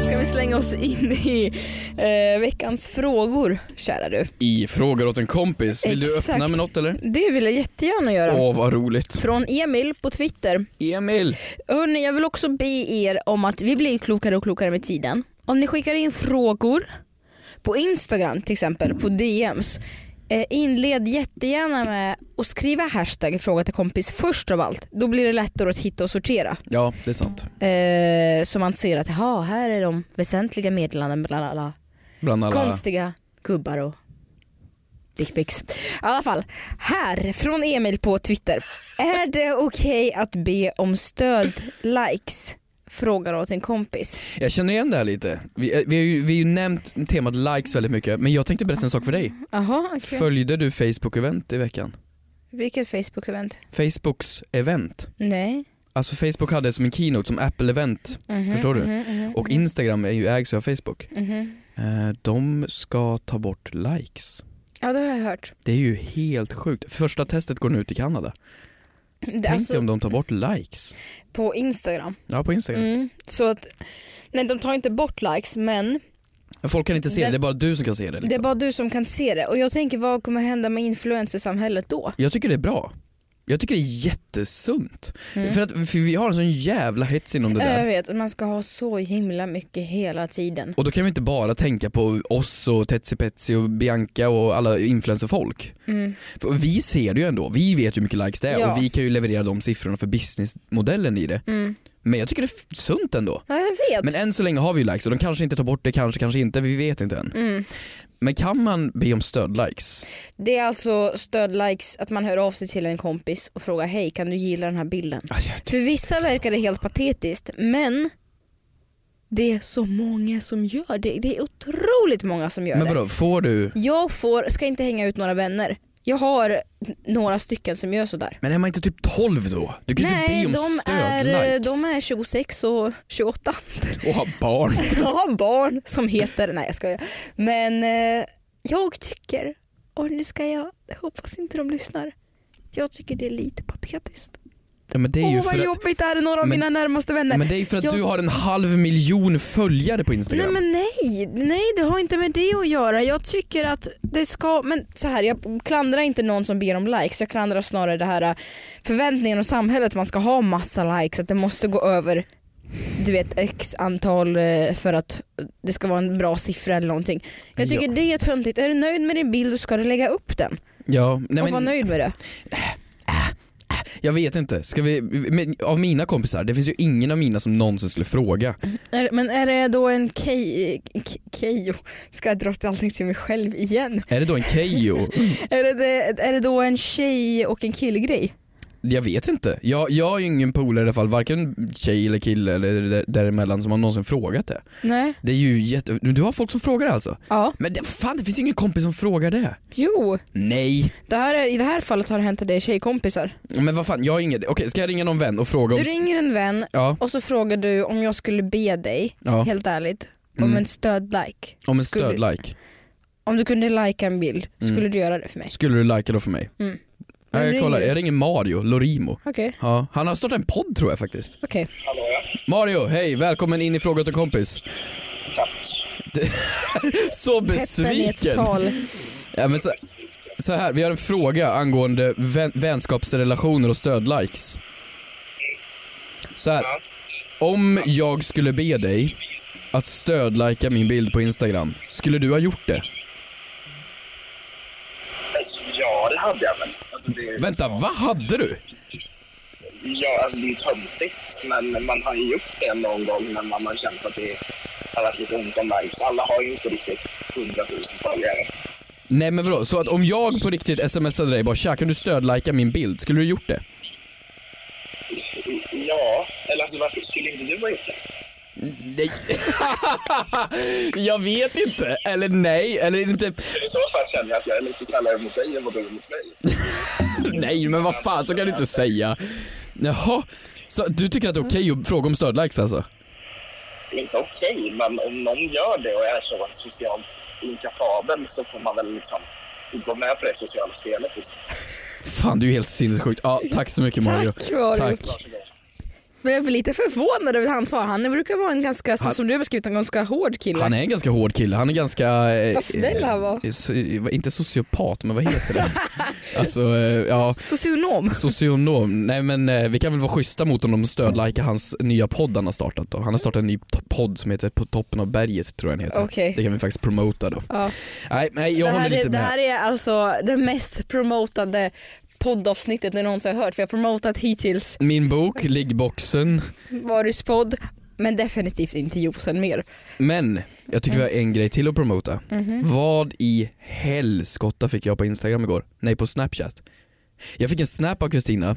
[SPEAKER 3] Ska vi slänga oss in i eh, veckans frågor, kära du?
[SPEAKER 2] I frågor åt en kompis. Vill du
[SPEAKER 3] Exakt.
[SPEAKER 2] öppna med något eller?
[SPEAKER 3] Det vill jag jättegärna göra.
[SPEAKER 2] Åh vad roligt.
[SPEAKER 3] Från Emil på Twitter.
[SPEAKER 2] Emil!
[SPEAKER 3] Hörni, jag vill också be er om att vi blir klokare och klokare med tiden. Om ni skickar in frågor på Instagram till exempel, på DMs. Eh, inled jättegärna med att skriva hashtag fråga till kompis först av allt. Då blir det lättare att hitta och sortera.
[SPEAKER 2] Ja det är sant.
[SPEAKER 3] Eh, så man ser att "Jaha, här är de väsentliga meddelanden bland alla
[SPEAKER 2] Bland alla.
[SPEAKER 3] konstiga gubbar och dickpics. I alla fall, här från Emil på Twitter. Är det okej att be om stöd likes? Frågar åt en kompis.
[SPEAKER 2] Jag känner igen det här lite. Vi, eh, vi, har ju, vi har ju nämnt temat likes väldigt mycket men jag tänkte berätta en sak för dig.
[SPEAKER 3] Jaha, <laughs> okej.
[SPEAKER 2] Följde du Facebook-event i veckan?
[SPEAKER 3] Vilket Facebook-event?
[SPEAKER 2] Facebooks event.
[SPEAKER 3] Nej.
[SPEAKER 2] Alltså Facebook hade det som en keynote, som Apple-event.
[SPEAKER 3] Mhm,
[SPEAKER 2] Förstår du?
[SPEAKER 3] mhm, mhm,
[SPEAKER 2] Och Instagram är ju, ägs ju av Facebook.
[SPEAKER 3] mhm.
[SPEAKER 2] Eh, de ska ta bort likes.
[SPEAKER 3] Ja, det har jag hört.
[SPEAKER 2] Det är ju helt sjukt. Första testet går nu ut i Kanada.
[SPEAKER 3] Det,
[SPEAKER 2] Tänk dig
[SPEAKER 3] alltså,
[SPEAKER 2] om de tar bort likes.
[SPEAKER 3] På Instagram.
[SPEAKER 2] Ja, på Instagram.
[SPEAKER 3] Mm. Så att, nej, de tar inte bort likes men
[SPEAKER 2] Men Folk kan inte se det, det är bara du som kan se det.
[SPEAKER 3] det är
[SPEAKER 2] Liksom.
[SPEAKER 3] bara du som kan se det. Och jag tänker vad kommer hända med influencersamhället då?
[SPEAKER 2] Jag tycker det är bra. Jag tycker det är jättesunt.
[SPEAKER 3] Mm. Eh.
[SPEAKER 2] För, att, för vi har en sån jävla hets inom det
[SPEAKER 3] Ja, Jag
[SPEAKER 2] där.
[SPEAKER 3] vet, man ska ha så himla mycket hela tiden.
[SPEAKER 2] Och då kan vi inte bara tänka på oss och Tetsi Petsi och Bianca och alla influencerfolk.
[SPEAKER 3] Mm.
[SPEAKER 2] För vi ser det ju ändå, vi vet ju hur mycket likes det är
[SPEAKER 3] Ja.
[SPEAKER 2] och vi kan ju leverera de siffrorna för businessmodellen i det.
[SPEAKER 3] Mm.
[SPEAKER 2] Men jag tycker det är f- sunt ändå.
[SPEAKER 3] Ja, jag vet.
[SPEAKER 2] Men än så länge har vi ju likes och de kanske inte tar bort det, kanske, kanske inte, vi vet inte än.
[SPEAKER 3] Mm.
[SPEAKER 2] Men kan man be om stödlikes?
[SPEAKER 3] Det är alltså stödlikes, att man hör av sig till en kompis och frågar hej kan du gilla den här bilden?
[SPEAKER 2] Aj, jag ty-
[SPEAKER 3] För vissa verkar det helt patetiskt men det är så många som gör det. Det är otroligt många som gör
[SPEAKER 2] Men
[SPEAKER 3] det.
[SPEAKER 2] vadå, får du?
[SPEAKER 3] Jag får, ska inte hänga ut några vänner. Jag har några stycken som gör sådär.
[SPEAKER 2] Men är man inte typ 12 då? Du kan ju inte
[SPEAKER 3] Nej,
[SPEAKER 2] be om
[SPEAKER 3] de är, eh,
[SPEAKER 2] stödlikes.
[SPEAKER 3] de är 26 och 28.
[SPEAKER 2] Och ha barn.
[SPEAKER 3] <laughs> Jag har barn som heter, nej jag skojar. Men eh, jag tycker, och nu ska jag, jag hoppas inte de lyssnar. Jag tycker det är lite patetiskt.
[SPEAKER 2] Ja, men det är
[SPEAKER 3] Åh
[SPEAKER 2] ju
[SPEAKER 3] vad
[SPEAKER 2] för att,
[SPEAKER 3] jobbigt, det här är några av
[SPEAKER 2] Men-
[SPEAKER 3] mina närmaste vänner.
[SPEAKER 2] men det är ju för att
[SPEAKER 3] Jag-
[SPEAKER 2] du har en halv miljon följare på Instagram.
[SPEAKER 3] Nej men nej, nej det har inte med det att göra. Jag tycker att det ska, men så här jag klandrar inte någon som ber om likes. Jag klandrar snarare det här eh, förväntningen och samhället att man ska ha massa likes, att det måste gå över du vet x antal eh, för att det ska vara en bra siffra eller någonting. Jag tycker det är töntigt. Är du nöjd med din bild så ska du lägga upp den
[SPEAKER 2] Ja, nej,
[SPEAKER 3] och
[SPEAKER 2] men,
[SPEAKER 3] vara nöjd med det.
[SPEAKER 2] Jag vet inte, Ska vi, men, av mina kompisar, det finns ju ingen av mina som någonsin skulle fråga.
[SPEAKER 3] Är, men är det då en kej- k- Kejo? Ska jag dra till allting till mig själv igen?
[SPEAKER 2] Är det då en Keyyo?
[SPEAKER 3] Är det, det, är det då en tjej och en killgrej?
[SPEAKER 2] Jag vet inte. Jag, jag har ju ingen polare i alla fall, varken tjej eller kille eller d- däremellan som har någonsin frågat det.
[SPEAKER 3] Nej.
[SPEAKER 2] Det är ju jätte... Du har folk som frågar det alltså?
[SPEAKER 3] Ja.
[SPEAKER 2] Men det, fan det finns ju ingen kompis som frågar det.
[SPEAKER 3] Jo,
[SPEAKER 2] Nej.
[SPEAKER 3] det här är, i det här fallet har det hänt att det är tjejkompisar.
[SPEAKER 2] Men vad fan, jag har ingen... Okej, ska jag ringa någon vän och fråga
[SPEAKER 3] Du
[SPEAKER 2] om...
[SPEAKER 3] ringer en vän
[SPEAKER 2] Ja,
[SPEAKER 3] och så frågar du om jag skulle be dig,
[SPEAKER 2] ja.
[SPEAKER 3] helt ärligt, om
[SPEAKER 2] Mm.
[SPEAKER 3] en stödlike.
[SPEAKER 2] Om en
[SPEAKER 3] Skulle-
[SPEAKER 2] stödlike.
[SPEAKER 3] Om du kunde lajka en bild,
[SPEAKER 2] Mm.
[SPEAKER 3] skulle du göra det för mig?
[SPEAKER 2] Skulle du likea då för mig?
[SPEAKER 3] Mm.
[SPEAKER 2] Ja,
[SPEAKER 3] Men
[SPEAKER 2] jag
[SPEAKER 3] ringer
[SPEAKER 2] kollar,
[SPEAKER 3] du?
[SPEAKER 2] jag ringer Mario Lorimo.
[SPEAKER 3] Okej.
[SPEAKER 2] Ja, han har startat en podd tror jag faktiskt.
[SPEAKER 3] Okej.
[SPEAKER 2] Mario, hej, välkommen in i Fråga åt en kompis. Du- så
[SPEAKER 3] Peppen i ett
[SPEAKER 2] besviken.
[SPEAKER 3] tal.
[SPEAKER 2] Ja, men så, så här, vi har en fråga angående vän, vänskapsrelationer och stödlikes. Så här, om jag skulle be dig att stödlika min bild på Instagram, skulle du ha gjort det?
[SPEAKER 4] Ja, det hade jag väl. Alltså, det,
[SPEAKER 2] Vänta, vad hade du?
[SPEAKER 4] ja, alltså, det är töntigt, men man har ju gjort det någon gång när man har känt att det har varit lite ont om likes. Alla har ju inte riktigt 100 000 följare.
[SPEAKER 2] Nej men vadå, så att om jag på riktigt smsade dig bara tja, kan du stödlika min bild? Skulle du ha gjort det?
[SPEAKER 4] Ja, eller alltså varför skulle inte du ha gjort det?
[SPEAKER 2] Nej. <laughs> jag vet inte. Eller nej, eller inte.
[SPEAKER 4] I så fall känner jag att jag är lite snällare mot dig än vad du är mot mig.
[SPEAKER 2] Nej men vad fan, så kan du inte säga. Jaha, så du tycker att det är okej att fråga om stödlikes alltså?
[SPEAKER 4] inte okej, men om någon gör det och är så socialt inkapabel så får man väl liksom gå med på det sociala spelet. Liksom.
[SPEAKER 2] Fan, du är helt sinnessjukt. Ja, tack så mycket Mario.
[SPEAKER 3] Tack, Mario.
[SPEAKER 4] Varsågod.
[SPEAKER 3] Men jag blir lite förvånad över hans svar. Han brukar vara en ganska, så
[SPEAKER 2] Han-
[SPEAKER 3] som du har beskrivit, en ganska hård kille.
[SPEAKER 2] Han är en ganska hård kille. Han är ganska... eh,
[SPEAKER 3] Vad snäll han var.
[SPEAKER 2] eh, so- Inte sociopat, men vad heter
[SPEAKER 3] <laughs>
[SPEAKER 2] det? alltså, eh, ja.
[SPEAKER 3] Socionom.
[SPEAKER 2] Socionom. Nej men eh, vi kan väl vara schyssta mot honom och stödlajka hans nya podd han har startat då. Han har startat en ny t- podd som heter På toppen av berget tror jag den heter.
[SPEAKER 3] Okej.
[SPEAKER 2] Det kan vi faktiskt promota då.
[SPEAKER 3] Ja.
[SPEAKER 2] Nej, nej jag
[SPEAKER 3] det,
[SPEAKER 2] håller
[SPEAKER 3] här är,
[SPEAKER 2] inte
[SPEAKER 3] det
[SPEAKER 2] med.
[SPEAKER 3] här är alltså det mest promotande poddavsnittet ni någonsin har hört. Vi har promotat hittills
[SPEAKER 2] Min bok, Liggboxen.
[SPEAKER 3] Varus podd, men definitivt inte Josen mer.
[SPEAKER 2] Men jag tycker vi har en grej till att promota.
[SPEAKER 3] Mhm.
[SPEAKER 2] Vad i helskotta fick jag på Instagram igår? Nej, på Snapchat. Jag fick en snap av Kristina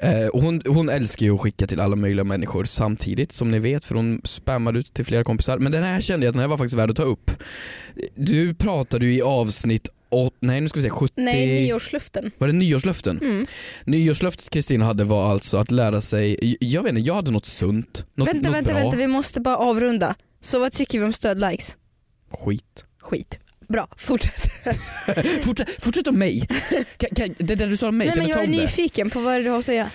[SPEAKER 2] eh, och hon, hon älskar ju att skicka till alla möjliga människor samtidigt som ni vet för hon spammade ut till flera kompisar. Men den här kände jag att den här var faktiskt värd att ta upp. Du pratade ju i avsnitt åt, nej nu ska vi se 70...
[SPEAKER 3] Nej, nyårsluften.
[SPEAKER 2] Var det nyårslöften?
[SPEAKER 3] Mm.
[SPEAKER 2] Nyårslöftet Kristina hade var alltså att lära sig, jag vet inte, jag hade något sunt, något,
[SPEAKER 3] vänta,
[SPEAKER 2] något
[SPEAKER 3] vänta,
[SPEAKER 2] bra,
[SPEAKER 3] vänta, vi måste bara avrunda. Så vad tycker vi om stödlikes?
[SPEAKER 2] skit.
[SPEAKER 3] Skit. Bra, fortsätt.
[SPEAKER 2] Fortsätt, fortsätt om mig. Kan, kan, det där du sa om mig,
[SPEAKER 3] Nej,
[SPEAKER 2] kan
[SPEAKER 3] men
[SPEAKER 2] vi ta
[SPEAKER 3] jag är
[SPEAKER 2] om det?
[SPEAKER 3] nyfiken på vad du har att säga.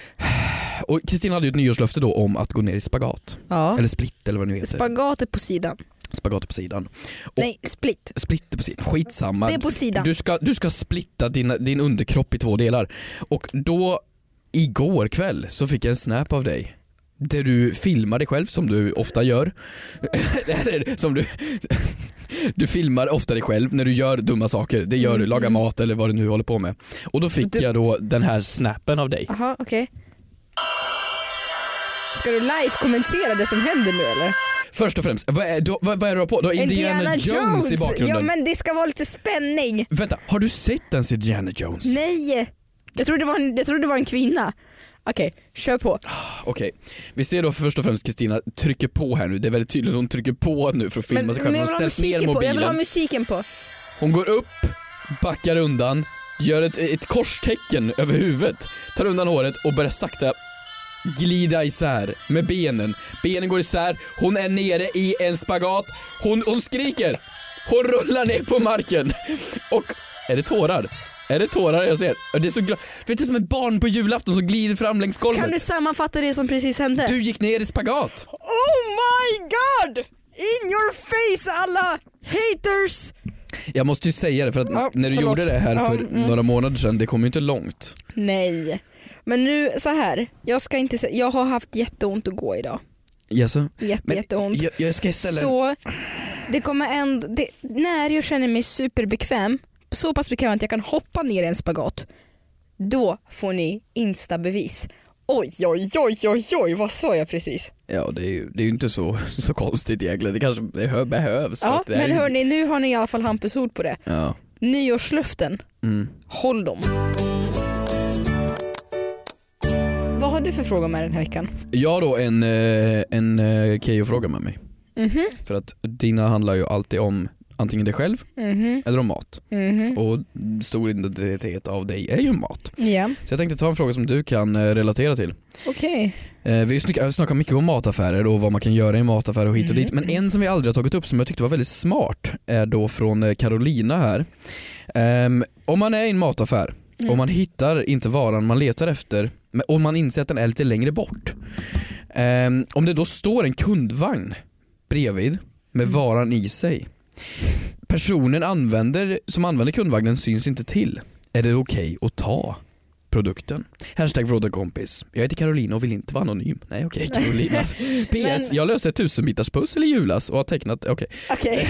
[SPEAKER 2] Och Kristina hade ju ett nyårslöfte då om att gå ner i spagat.
[SPEAKER 3] Ja.
[SPEAKER 2] Eller split eller vad det nu heter.
[SPEAKER 3] Spagatet på sidan.
[SPEAKER 2] spagat på sidan.
[SPEAKER 3] Nej, split.
[SPEAKER 2] Split på sidan, skitsamma.
[SPEAKER 3] Det är på sidan.
[SPEAKER 2] Du ska, du ska splitta din, din underkropp i två delar. Och då, igår kväll, så fick jag en snap av dig. Där du filmar dig själv som du ofta gör. <laughs> Eller som du... Du filmar ofta dig själv när du gör dumma saker. Det gör du, lagar mat eller vad du nu håller på med. Och då fick
[SPEAKER 3] Mm. Du- Ah.
[SPEAKER 2] jag då den här snappen av dig.
[SPEAKER 3] Jaha, okej. Ska du live kommentera det som händer nu eller?
[SPEAKER 2] Först och främst, vad är, du, vad, vad är du har på? Du har Indiana, Jones, i bakgrunden.
[SPEAKER 3] Ja men det ska vara lite spänning.
[SPEAKER 2] Vänta, har du sett ens Indiana Jones?
[SPEAKER 3] Nej! Jag trodde det var en, jag trodde det var en kvinna. Okej, kör på.
[SPEAKER 2] Okej, vi ser då först och främst Kristina trycker på här nu. Det är väldigt tydligt att hon trycker på nu för att filma sig själv.
[SPEAKER 3] jag
[SPEAKER 2] Hon
[SPEAKER 3] vill ha
[SPEAKER 2] ställs ner
[SPEAKER 3] musiken på. Jag vill ha
[SPEAKER 2] mobilen. Oh
[SPEAKER 3] musiken på.
[SPEAKER 2] Hon går upp, backar undan, gör ett, ett korstecken över huvudet, tar undan håret och börjar sakta glida isär med benen. Benen går isär, hon är nere i en spagat, hon, hon skriker, hon rullar ner på marken och är det tårar? Är det tårar jag ser? Ja, Det är så gla- Vet du, som ett barn på julafton som glider fram längs golvet.
[SPEAKER 3] Kan du sammanfatta det som precis hände?
[SPEAKER 2] du gick ner i spagat.
[SPEAKER 3] Oh my god! In your face alla haters!
[SPEAKER 2] Jag måste ju säga det för att
[SPEAKER 3] Ja,
[SPEAKER 2] när du
[SPEAKER 3] förlåt.
[SPEAKER 2] gjorde det här
[SPEAKER 3] Ja,
[SPEAKER 2] för
[SPEAKER 3] mm.
[SPEAKER 2] några månader sedan, det kom ju inte långt.
[SPEAKER 3] Nej. Men nu så här. Jag ska inte sä- Jag har haft jätteont att gå idag.
[SPEAKER 2] Jaså?
[SPEAKER 3] Jätte,
[SPEAKER 2] Men
[SPEAKER 3] jätteont.
[SPEAKER 2] Jag, jag ska ställa en...
[SPEAKER 3] Så det kommer ändå, det, när jag känner mig superbekväm, så pass bekväm att jag kan hoppa ner i en spagat, då får ni instabevis. Oj, oj, oj, oj, oj, vad sa jag precis?
[SPEAKER 2] Ja, det är ju, det är ju inte så, <laughs> så konstigt egentligen. Det kanske det hö- behövs. för
[SPEAKER 3] Ja,
[SPEAKER 2] att det är
[SPEAKER 3] men
[SPEAKER 2] ju...
[SPEAKER 3] hörni, nu har ni i alla fall Hampus ord på det.
[SPEAKER 2] Ja.
[SPEAKER 3] Nyårslöften,
[SPEAKER 2] Mm.
[SPEAKER 3] håll dem. Vad har du för fråga med den här veckan?
[SPEAKER 2] Jag har då en, eh, en eh, Keyyo-fråga med mig.
[SPEAKER 3] Mhm,
[SPEAKER 2] För att dina handlar ju alltid om antingen dig själv
[SPEAKER 3] mhm,
[SPEAKER 2] eller om mat.
[SPEAKER 3] mhm.
[SPEAKER 2] Och stor identitet av dig är ju mat.
[SPEAKER 3] Ja,
[SPEAKER 2] Så jag tänkte ta en fråga som du kan eh, relatera till.
[SPEAKER 3] okej.
[SPEAKER 2] Eh, Vi snackar, snackar mycket om mataffärer och vad man kan göra i mataffärer och hit och
[SPEAKER 3] Mm,
[SPEAKER 2] dit. Men en som vi aldrig har tagit upp som jag tyckte var väldigt smart är då från eh, Carolina här. Ehm, om man är i en mataffär
[SPEAKER 3] Mm.
[SPEAKER 2] och man hittar inte varan man letar efter men- och man inser att den är lite längre bort. Ehm, om det då står en kundvagn bredvid med
[SPEAKER 3] Mm.
[SPEAKER 2] varan i sig. Personen använder, som använder kundvagnen syns inte till. Är det okej att ta produkten? Hashtag frågekompis. Jag heter Carolina och vill inte vara anonym. Nej okej Carolina. PS.
[SPEAKER 3] <laughs> Men-
[SPEAKER 2] Jag löste ett tusenbitars pussel i julas och har tecknat, okej, <laughs>
[SPEAKER 3] Okej.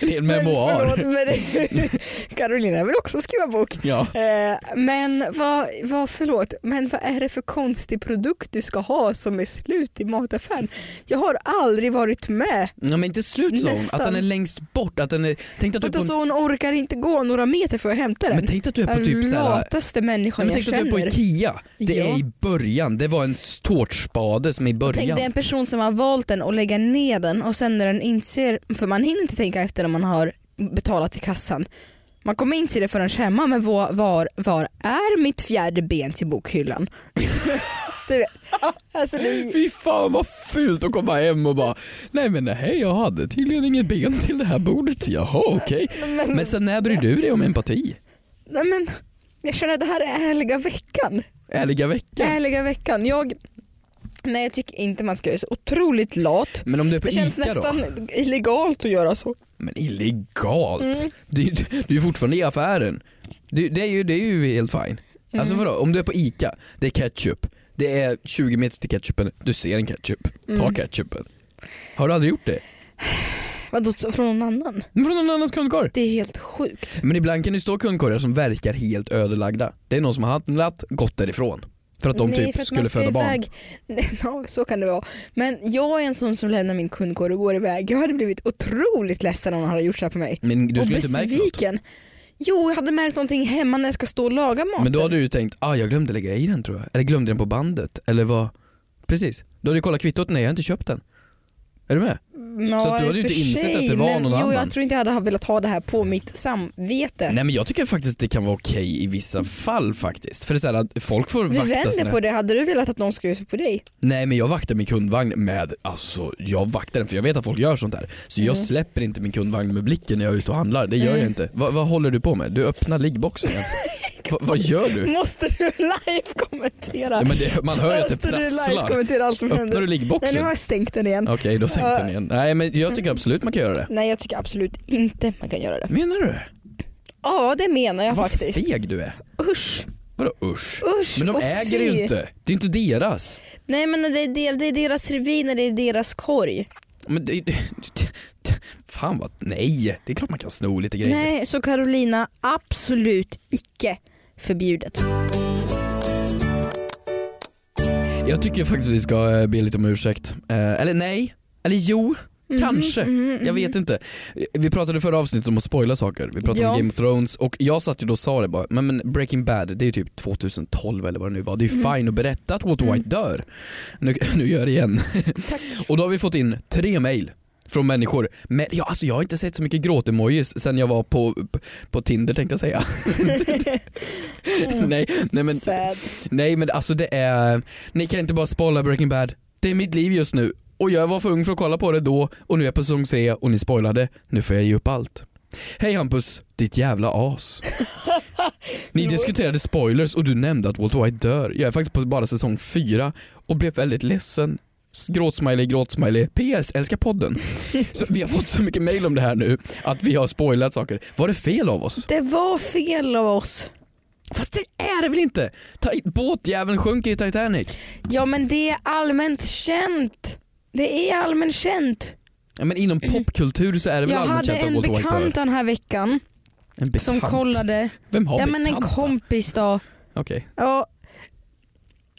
[SPEAKER 2] en hel
[SPEAKER 3] Men <laughs> förlåt,
[SPEAKER 2] memoar.
[SPEAKER 3] men- <laughs> Carolina vill också skriva bok.
[SPEAKER 2] Ja.
[SPEAKER 3] Eh, Men vad, vad, förlåt, men vad är det för konstig produkt du ska ha som är slut i mataffären? Jag har aldrig varit med.
[SPEAKER 2] ja men inte slut sa hon.
[SPEAKER 3] Nästan.
[SPEAKER 2] Att den är längst bort. Att den är, tänk att du är
[SPEAKER 3] Vadå
[SPEAKER 2] på,
[SPEAKER 3] så alltså hon orkar inte gå några meter för att hämta
[SPEAKER 2] en,
[SPEAKER 3] den?
[SPEAKER 2] men tänk att du är på typ
[SPEAKER 3] den
[SPEAKER 2] såhär
[SPEAKER 3] lataste människan
[SPEAKER 2] Nej, men
[SPEAKER 3] jag
[SPEAKER 2] tänk att du är på
[SPEAKER 3] känner.
[SPEAKER 2] IKEA. Det
[SPEAKER 3] Ja.
[SPEAKER 2] är i början, det var en s- tårtspade som i
[SPEAKER 3] Tänk
[SPEAKER 2] början.
[SPEAKER 3] dig en person som har valt den och lägger ner den och sen när den inser, för man hinner inte tänka efter när man har betalat i kassan. Man kommer
[SPEAKER 2] <laughs>
[SPEAKER 3] inte till det förrän hemma, men var, var, var är mitt fjärde ben till bokhyllan? Du vet. Alltså det,
[SPEAKER 2] Fy fan vad fult att komma hem och bara, nej men hej jag hade tydligen inget ben till det här bordet, jaha okej.
[SPEAKER 3] <laughs> men,
[SPEAKER 2] Men sen när bryr du dig om empati?
[SPEAKER 3] nej men, jag känner att det här är ärliga veckan.
[SPEAKER 2] Ärliga veckan.
[SPEAKER 3] Ärliga veckan. Jag, nej jag tycker inte man ska göra så otroligt lat.
[SPEAKER 2] Men om du är på
[SPEAKER 3] Det känns
[SPEAKER 2] ICA då?
[SPEAKER 3] nästan illegalt att göra så.
[SPEAKER 2] Men illegalt?
[SPEAKER 3] Mm.
[SPEAKER 2] Du, du, du är fortfarande i affären. Du, det, är ju, det är ju helt fine. Alltså
[SPEAKER 3] Mm.
[SPEAKER 2] vadå, om du är på ICA, det är ketchup. Det är 20 meter till ketchupen, du ser en ketchup.
[SPEAKER 3] Mm.
[SPEAKER 2] Ta ketchupen. Har du aldrig gjort det?
[SPEAKER 3] Vadå från någon annan?
[SPEAKER 2] Men Från någon annans kundkorg?
[SPEAKER 3] Det är helt sjukt.
[SPEAKER 2] Men ibland kan det stå kundkorgar som verkar helt ödelagda. Det är någon som har handlat, gått därifrån. För att de typ skulle föda barn.
[SPEAKER 3] Nej, <laughs> ja, så kan det vara. Men jag är en sån som lämnar min kundkorg och går iväg. Jag hade blivit otroligt ledsen om någon hade gjort så här på mig.
[SPEAKER 2] Men du
[SPEAKER 3] och
[SPEAKER 2] skulle inte märka något.
[SPEAKER 3] besviken. Jo, jag hade märkt någonting hemma när jag ska stå och laga mat.
[SPEAKER 2] Men då hade du ju tänkt, ah jag glömde lägga i den tror jag. Eller glömde den på bandet. Eller vad? Precis. Då hade du kollat kvittot, nej jag har inte köpt den. Är du med?
[SPEAKER 3] Ja,
[SPEAKER 2] så att du hade
[SPEAKER 3] i
[SPEAKER 2] ju
[SPEAKER 3] och
[SPEAKER 2] inte
[SPEAKER 3] för
[SPEAKER 2] insett
[SPEAKER 3] sig,
[SPEAKER 2] att det var
[SPEAKER 3] men,
[SPEAKER 2] någon
[SPEAKER 3] jo,
[SPEAKER 2] annan.
[SPEAKER 3] Jag tror inte jag hade velat ha det här på mitt samvete.
[SPEAKER 2] Nej men jag tycker faktiskt det kan vara okej i vissa fall faktiskt. För det är så här att folk får
[SPEAKER 3] Vi
[SPEAKER 2] vakta
[SPEAKER 3] vänder
[SPEAKER 2] sina...
[SPEAKER 3] på det. Hade du velat att någon skulle göra så på dig?
[SPEAKER 2] Nej men jag vaktar min kundvagn med, alltså jag vaktar den för jag vet att folk gör sånt här. Så jag
[SPEAKER 3] Mm.
[SPEAKER 2] släpper inte min kundvagn med blicken när jag är ute och handlar, det gör jag inte. Va, vad håller du på med? Du öppnar liggboxen
[SPEAKER 3] <laughs>
[SPEAKER 2] igen. Va, vad gör du?
[SPEAKER 3] Måste du <laughs> live kommentera?
[SPEAKER 2] Ja, men det, man hör ju att det
[SPEAKER 3] Måste du live
[SPEAKER 2] prasslar.
[SPEAKER 3] kommentera allt som
[SPEAKER 2] Öppnar du
[SPEAKER 3] händer? Nej, nu
[SPEAKER 2] liggboxen?
[SPEAKER 3] har
[SPEAKER 2] Okej,
[SPEAKER 3] jag stängt den igen.
[SPEAKER 2] då sänkte den igen. Nej men jag
[SPEAKER 3] Mm.
[SPEAKER 2] tycker absolut man kan göra det.
[SPEAKER 3] Nej, jag tycker absolut inte man kan göra det.
[SPEAKER 2] Menar du?
[SPEAKER 3] Ja, det menar jag
[SPEAKER 2] Vad
[SPEAKER 3] faktiskt.
[SPEAKER 2] feg du är.
[SPEAKER 3] Usch,
[SPEAKER 2] Vadå usch?
[SPEAKER 3] usch
[SPEAKER 2] Men de
[SPEAKER 3] och
[SPEAKER 2] äger det
[SPEAKER 3] fy.
[SPEAKER 2] ju inte. Det är inte deras.
[SPEAKER 3] Nej, men det är, der, det är deras revir, det är deras korg.
[SPEAKER 2] Men det, det, det, <laughs> fan vad, nej. Det är klart man kan sno lite grejer.
[SPEAKER 3] Nej, så Carolina, absolut icke förbjudet.
[SPEAKER 2] Jag tycker faktiskt vi ska eh, be lite om ursäkt. Eh, eller nej, eller jo, kanske. jag vet inte. Vi pratade i förra avsnittet om att spoila saker. Vi pratade om
[SPEAKER 3] Ja.
[SPEAKER 2] Game of Thrones och jag satt ju då och sa det bara, men, men Breaking Bad det är ju typ 2012 eller vad det nu var. Det är ju fine att berätta att Walter White dör. Nu, <laughs> nu gör jag det igen. <laughs> och då har vi fått in tre mail. Från människor. Men, ja, alltså jag har inte sett så mycket gråtemojis sen jag var på, på Tinder tänkte jag säga. <laughs> nej, nej, men,
[SPEAKER 3] Sad.
[SPEAKER 2] Nej men alltså det är, ni kan inte bara spoila Breaking Bad. Det är mitt liv just nu och jag var för ung för att kolla på det då och nu är jag på säsong 3 och ni spoilade. Nu får jag ge upp allt. Hej Hampus, ditt jävla <laughs> as. Ni diskuterade spoilers och du nämnde att Walter White dör. Jag är faktiskt på bara säsong 4 och blev väldigt ledsen. S- Gråtsmiley, gråtsmiley. PS, älskar podden. Så vi har fått så mycket mail om det här nu att vi har spoilat saker. Var det fel av oss?
[SPEAKER 3] Det var fel av oss.
[SPEAKER 2] Fast det är det väl inte? Ta- båtjäveln sjunker i Titanic.
[SPEAKER 3] Ja, men det är allmänt känt. Det är allmänt känt.
[SPEAKER 2] Ja, men inom popkultur så är det väl
[SPEAKER 3] Mm. Jag
[SPEAKER 2] allmänt
[SPEAKER 3] hade
[SPEAKER 2] känt att
[SPEAKER 3] en
[SPEAKER 2] Walter White
[SPEAKER 3] bekant
[SPEAKER 2] dör.
[SPEAKER 3] den här veckan
[SPEAKER 2] En bekant.
[SPEAKER 3] som kollade.
[SPEAKER 2] Vem har
[SPEAKER 3] Ja, men en
[SPEAKER 2] bekanta?
[SPEAKER 3] kompis då.
[SPEAKER 2] Okej.
[SPEAKER 3] Ja,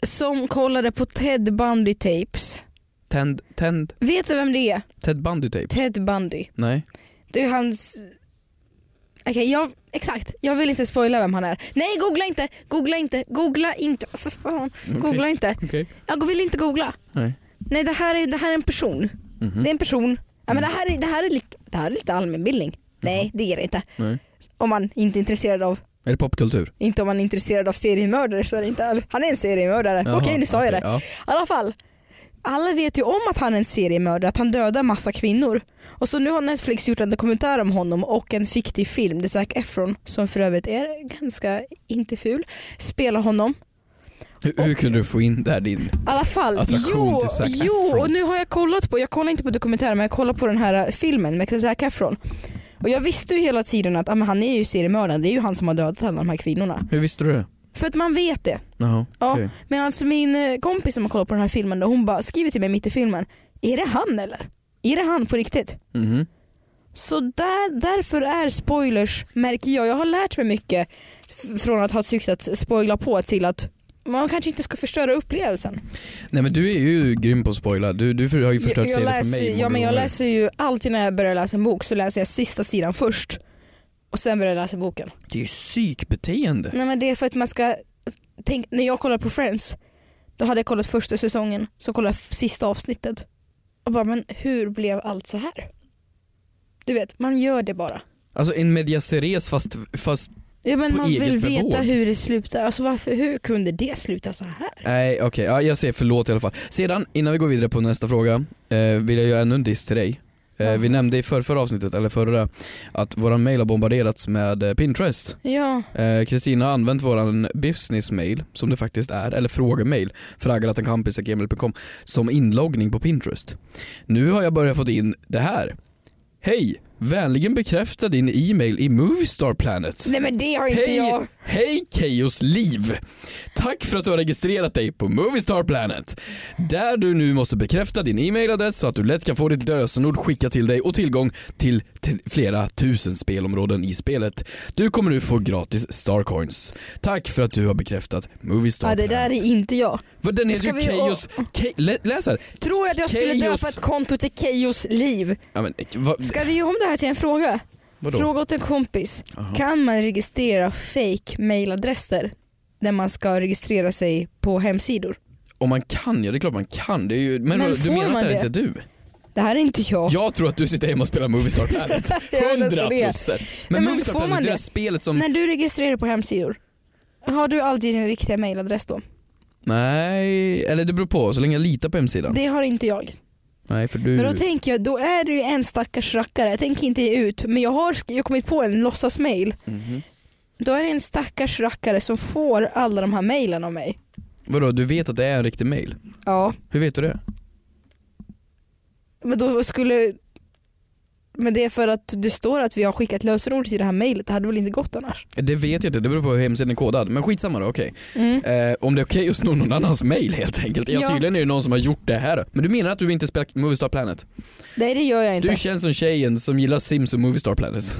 [SPEAKER 3] som kollade på Ted Bundy tapes.
[SPEAKER 2] Ted, Ted,
[SPEAKER 3] Vet du vem det är?
[SPEAKER 2] Ted Bundy tape?
[SPEAKER 3] Ted Bundy.
[SPEAKER 2] Nej.
[SPEAKER 3] Det är hans... Okej, jag... Exakt. Jag vill inte spoila vem han är. Nej, googla inte! Googla inte! Googla inte! <laughs> För fan. Googla
[SPEAKER 2] Okej.
[SPEAKER 3] inte.
[SPEAKER 2] Okej.
[SPEAKER 3] Jag vill inte googla.
[SPEAKER 2] Nej.
[SPEAKER 3] Nej, det här är, det här är en person.
[SPEAKER 2] Mhm. Mm.
[SPEAKER 3] Det är en person. Ja, men det, här är, det, här är lite, det här är lite allmänbildning. Nej, det är det inte.
[SPEAKER 2] Nej.
[SPEAKER 3] Om man inte är intresserad av
[SPEAKER 2] Är det popkultur?
[SPEAKER 3] inte om man är intresserad av seriemördare så är det inte Han är en seriemördare.
[SPEAKER 2] Jaha,
[SPEAKER 3] Okej nu sa jag
[SPEAKER 2] okej,
[SPEAKER 3] det.
[SPEAKER 2] ja.
[SPEAKER 3] I alla fall. Alla vet ju om att han är en seriemördare, att han dödar massa kvinnor. Och så nu har Netflix gjort en dokumentär om honom och en fiktiv film där Zac Efron, som för övrigt är ganska inte ful, spelar honom.
[SPEAKER 2] Hur, hur kunde du få in där din...
[SPEAKER 3] I alla fall,
[SPEAKER 2] Attraktion
[SPEAKER 3] jo,
[SPEAKER 2] till Zac
[SPEAKER 3] jo
[SPEAKER 2] Efron.
[SPEAKER 3] och nu har jag kollat på, jag kollar inte på dokumentären men jag kollar på den här eh, filmen med Zac Efron. Och jag visste ju hela tiden att ah, men han är ju seriemördaren, det är ju han som har dödat alla de här kvinnorna.
[SPEAKER 2] Hur visste du det?
[SPEAKER 3] För att man vet det.
[SPEAKER 2] Jaha,
[SPEAKER 3] Ja.
[SPEAKER 2] okej.
[SPEAKER 3] Men alltså min eh, kompis som har kollat på den här filmen då, hon bara skriver till mig mitt i filmen. Är det han eller? Är det han på riktigt?
[SPEAKER 2] Mhm.
[SPEAKER 3] Så där, därför är spoilers, märker jag, jag har lärt mig mycket f- från att ha ett syfte att spoila på till att man kanske inte ska förstöra upplevelsen.
[SPEAKER 2] Nej men du är ju grym på att spoila. Du, du för- har ju förstört
[SPEAKER 3] jag
[SPEAKER 2] serien för
[SPEAKER 3] läser,
[SPEAKER 2] mig
[SPEAKER 3] ju-
[SPEAKER 2] många
[SPEAKER 3] ja, men jag
[SPEAKER 2] gånger.
[SPEAKER 3] läser ju alltid när jag börjar läsa en bok så läser jag sista sidan först och sen börjar jag läsa boken.
[SPEAKER 2] Det är ju psykbeteende.
[SPEAKER 3] Nej men det är för att man ska, tänk, när jag kollar på Friends, då hade jag kollat första säsongen, så kollade jag f- sista avsnittet. Och bara, men hur blev allt så här? Du vet, man gör det bara.
[SPEAKER 2] Alltså en medias res fast, fast
[SPEAKER 3] Ja, men
[SPEAKER 2] På
[SPEAKER 3] man vill
[SPEAKER 2] eget
[SPEAKER 3] veta
[SPEAKER 2] bevåg.
[SPEAKER 3] hur det slutar. Alltså, varför, hur kunde det sluta så här?
[SPEAKER 2] Nej okej, ja, jag säger förlåt i alla fall. Sedan, innan vi går vidare på nästa fråga, eh, vill jag göra ännu en diss till dig. Eh,
[SPEAKER 3] Ja.
[SPEAKER 2] Vi nämnde i förra, förra avsnittet, eller förra, att våran mail har bombarderats med eh, Pinterest.
[SPEAKER 3] Ja,
[SPEAKER 2] Eh, Kristina har använt våran business-mail, som det faktiskt är, eller frågemail, fragalatenkampisgmail.com, som inloggning på Pinterest. Nu har jag börjat få in det här. Hej! Vänligen bekräfta din e-mail i Moviestar Planet.
[SPEAKER 3] nej men det har inte
[SPEAKER 2] Hej,
[SPEAKER 3] jag.
[SPEAKER 2] hej Keyyos liv! Tack för att du har registrerat dig på Moviestar Planet. Där du nu måste bekräfta din e-mailadress så att du lätt kan få ditt lösenord skickat till dig och tillgång till, till flera tusen spelområden i spelet. Du kommer nu få gratis Starcoins. Tack för att du har bekräftat Moviestar
[SPEAKER 3] Ja, det
[SPEAKER 2] Planet.
[SPEAKER 3] där är inte jag.
[SPEAKER 2] Vad, den
[SPEAKER 3] Ska
[SPEAKER 2] heter ju
[SPEAKER 3] vi-
[SPEAKER 2] Keyyos... Key, lä, läs här.
[SPEAKER 3] Tror att jag skulle
[SPEAKER 2] Chaos.
[SPEAKER 3] döpa ett konto till Keyyos liv?
[SPEAKER 2] Ja, men, va,
[SPEAKER 3] Ska vi göra om det här till en fråga?
[SPEAKER 2] vadå?
[SPEAKER 3] Fråga åt en kompis.
[SPEAKER 2] Jaha.
[SPEAKER 3] Kan man registrera fake mailadresser när man ska registrera sig på hemsidor?
[SPEAKER 2] Om man kan, ja det är klart man kan. Det är ju, men
[SPEAKER 3] Men
[SPEAKER 2] du
[SPEAKER 3] får
[SPEAKER 2] menar
[SPEAKER 3] man
[SPEAKER 2] att det här
[SPEAKER 3] det?
[SPEAKER 2] inte är du?
[SPEAKER 3] Det här är inte jag.
[SPEAKER 2] Jag tror att du sitter hemma och spelar Moviestar Planet.
[SPEAKER 3] <laughs> Jag vet inte ens
[SPEAKER 2] 100
[SPEAKER 3] vad det är.
[SPEAKER 2] procent.
[SPEAKER 3] Nej,
[SPEAKER 2] Men
[SPEAKER 3] men
[SPEAKER 2] Moviestar
[SPEAKER 3] får
[SPEAKER 2] Planet,
[SPEAKER 3] man
[SPEAKER 2] det är
[SPEAKER 3] det?
[SPEAKER 2] spelet som...
[SPEAKER 3] När du registrerar på hemsidor, har du alltid din riktiga mailadress då?
[SPEAKER 2] Nej, eller det beror på. Så länge jag litar på hemsidan.
[SPEAKER 3] Det har inte jag.
[SPEAKER 2] Nej, för du...
[SPEAKER 3] Men då tänker jag, då är det ju en stackars rackare. Jag tänker inte ge ut, men jag har sk- jag har kommit på en låtsas-mail.
[SPEAKER 2] Mhm.
[SPEAKER 3] Då är det en stackars rackare som får alla de här mailen av mig.
[SPEAKER 2] Vadå, du vet att det är en riktig mail?
[SPEAKER 3] Ja.
[SPEAKER 2] Hur vet du det?
[SPEAKER 3] Men då skulle... Men det är för att det står att vi har skickat lösenord till det här mejlet. Det hade väl inte gått annars?
[SPEAKER 2] Det vet jag inte, det beror på hur hemsidan är kodad. Men skitsamma då, okej. Eh, om det är okej att sno någon annans mail helt enkelt. Ja,
[SPEAKER 3] Mm. Ja.
[SPEAKER 2] tydligen är det någon som har gjort det här. Men du menar att du inte spelar Moviestar Planet?
[SPEAKER 3] Nej det gör jag inte.
[SPEAKER 2] Du känns som tjejen som gillar Sims och Moviestar Planet.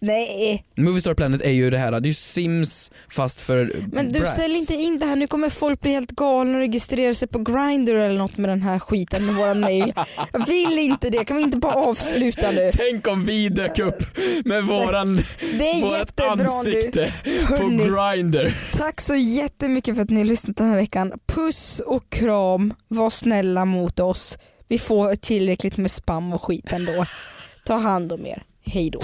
[SPEAKER 3] Nej.
[SPEAKER 2] Moviestar Planet är ju det här, det är ju Sims fast för
[SPEAKER 3] Men du
[SPEAKER 2] brats.
[SPEAKER 3] sälj inte in det här. Nu kommer folk bli helt galna och registrera sig på Grindr eller något med den här skiten med våra mejl. Jag vill inte det. Kan vi inte bara avsluta nu?
[SPEAKER 2] Tänk om vi dök upp med våran,
[SPEAKER 3] Det är
[SPEAKER 2] vårat
[SPEAKER 3] jättebra nu.
[SPEAKER 2] ansikte på
[SPEAKER 3] Hörrni.
[SPEAKER 2] Grindr.
[SPEAKER 3] Tack så jättemycket för att ni har lyssnat den här veckan. Puss och kram, var snälla mot oss. Vi får tillräckligt med spam och skit ändå. Ta hand om er. Hej då.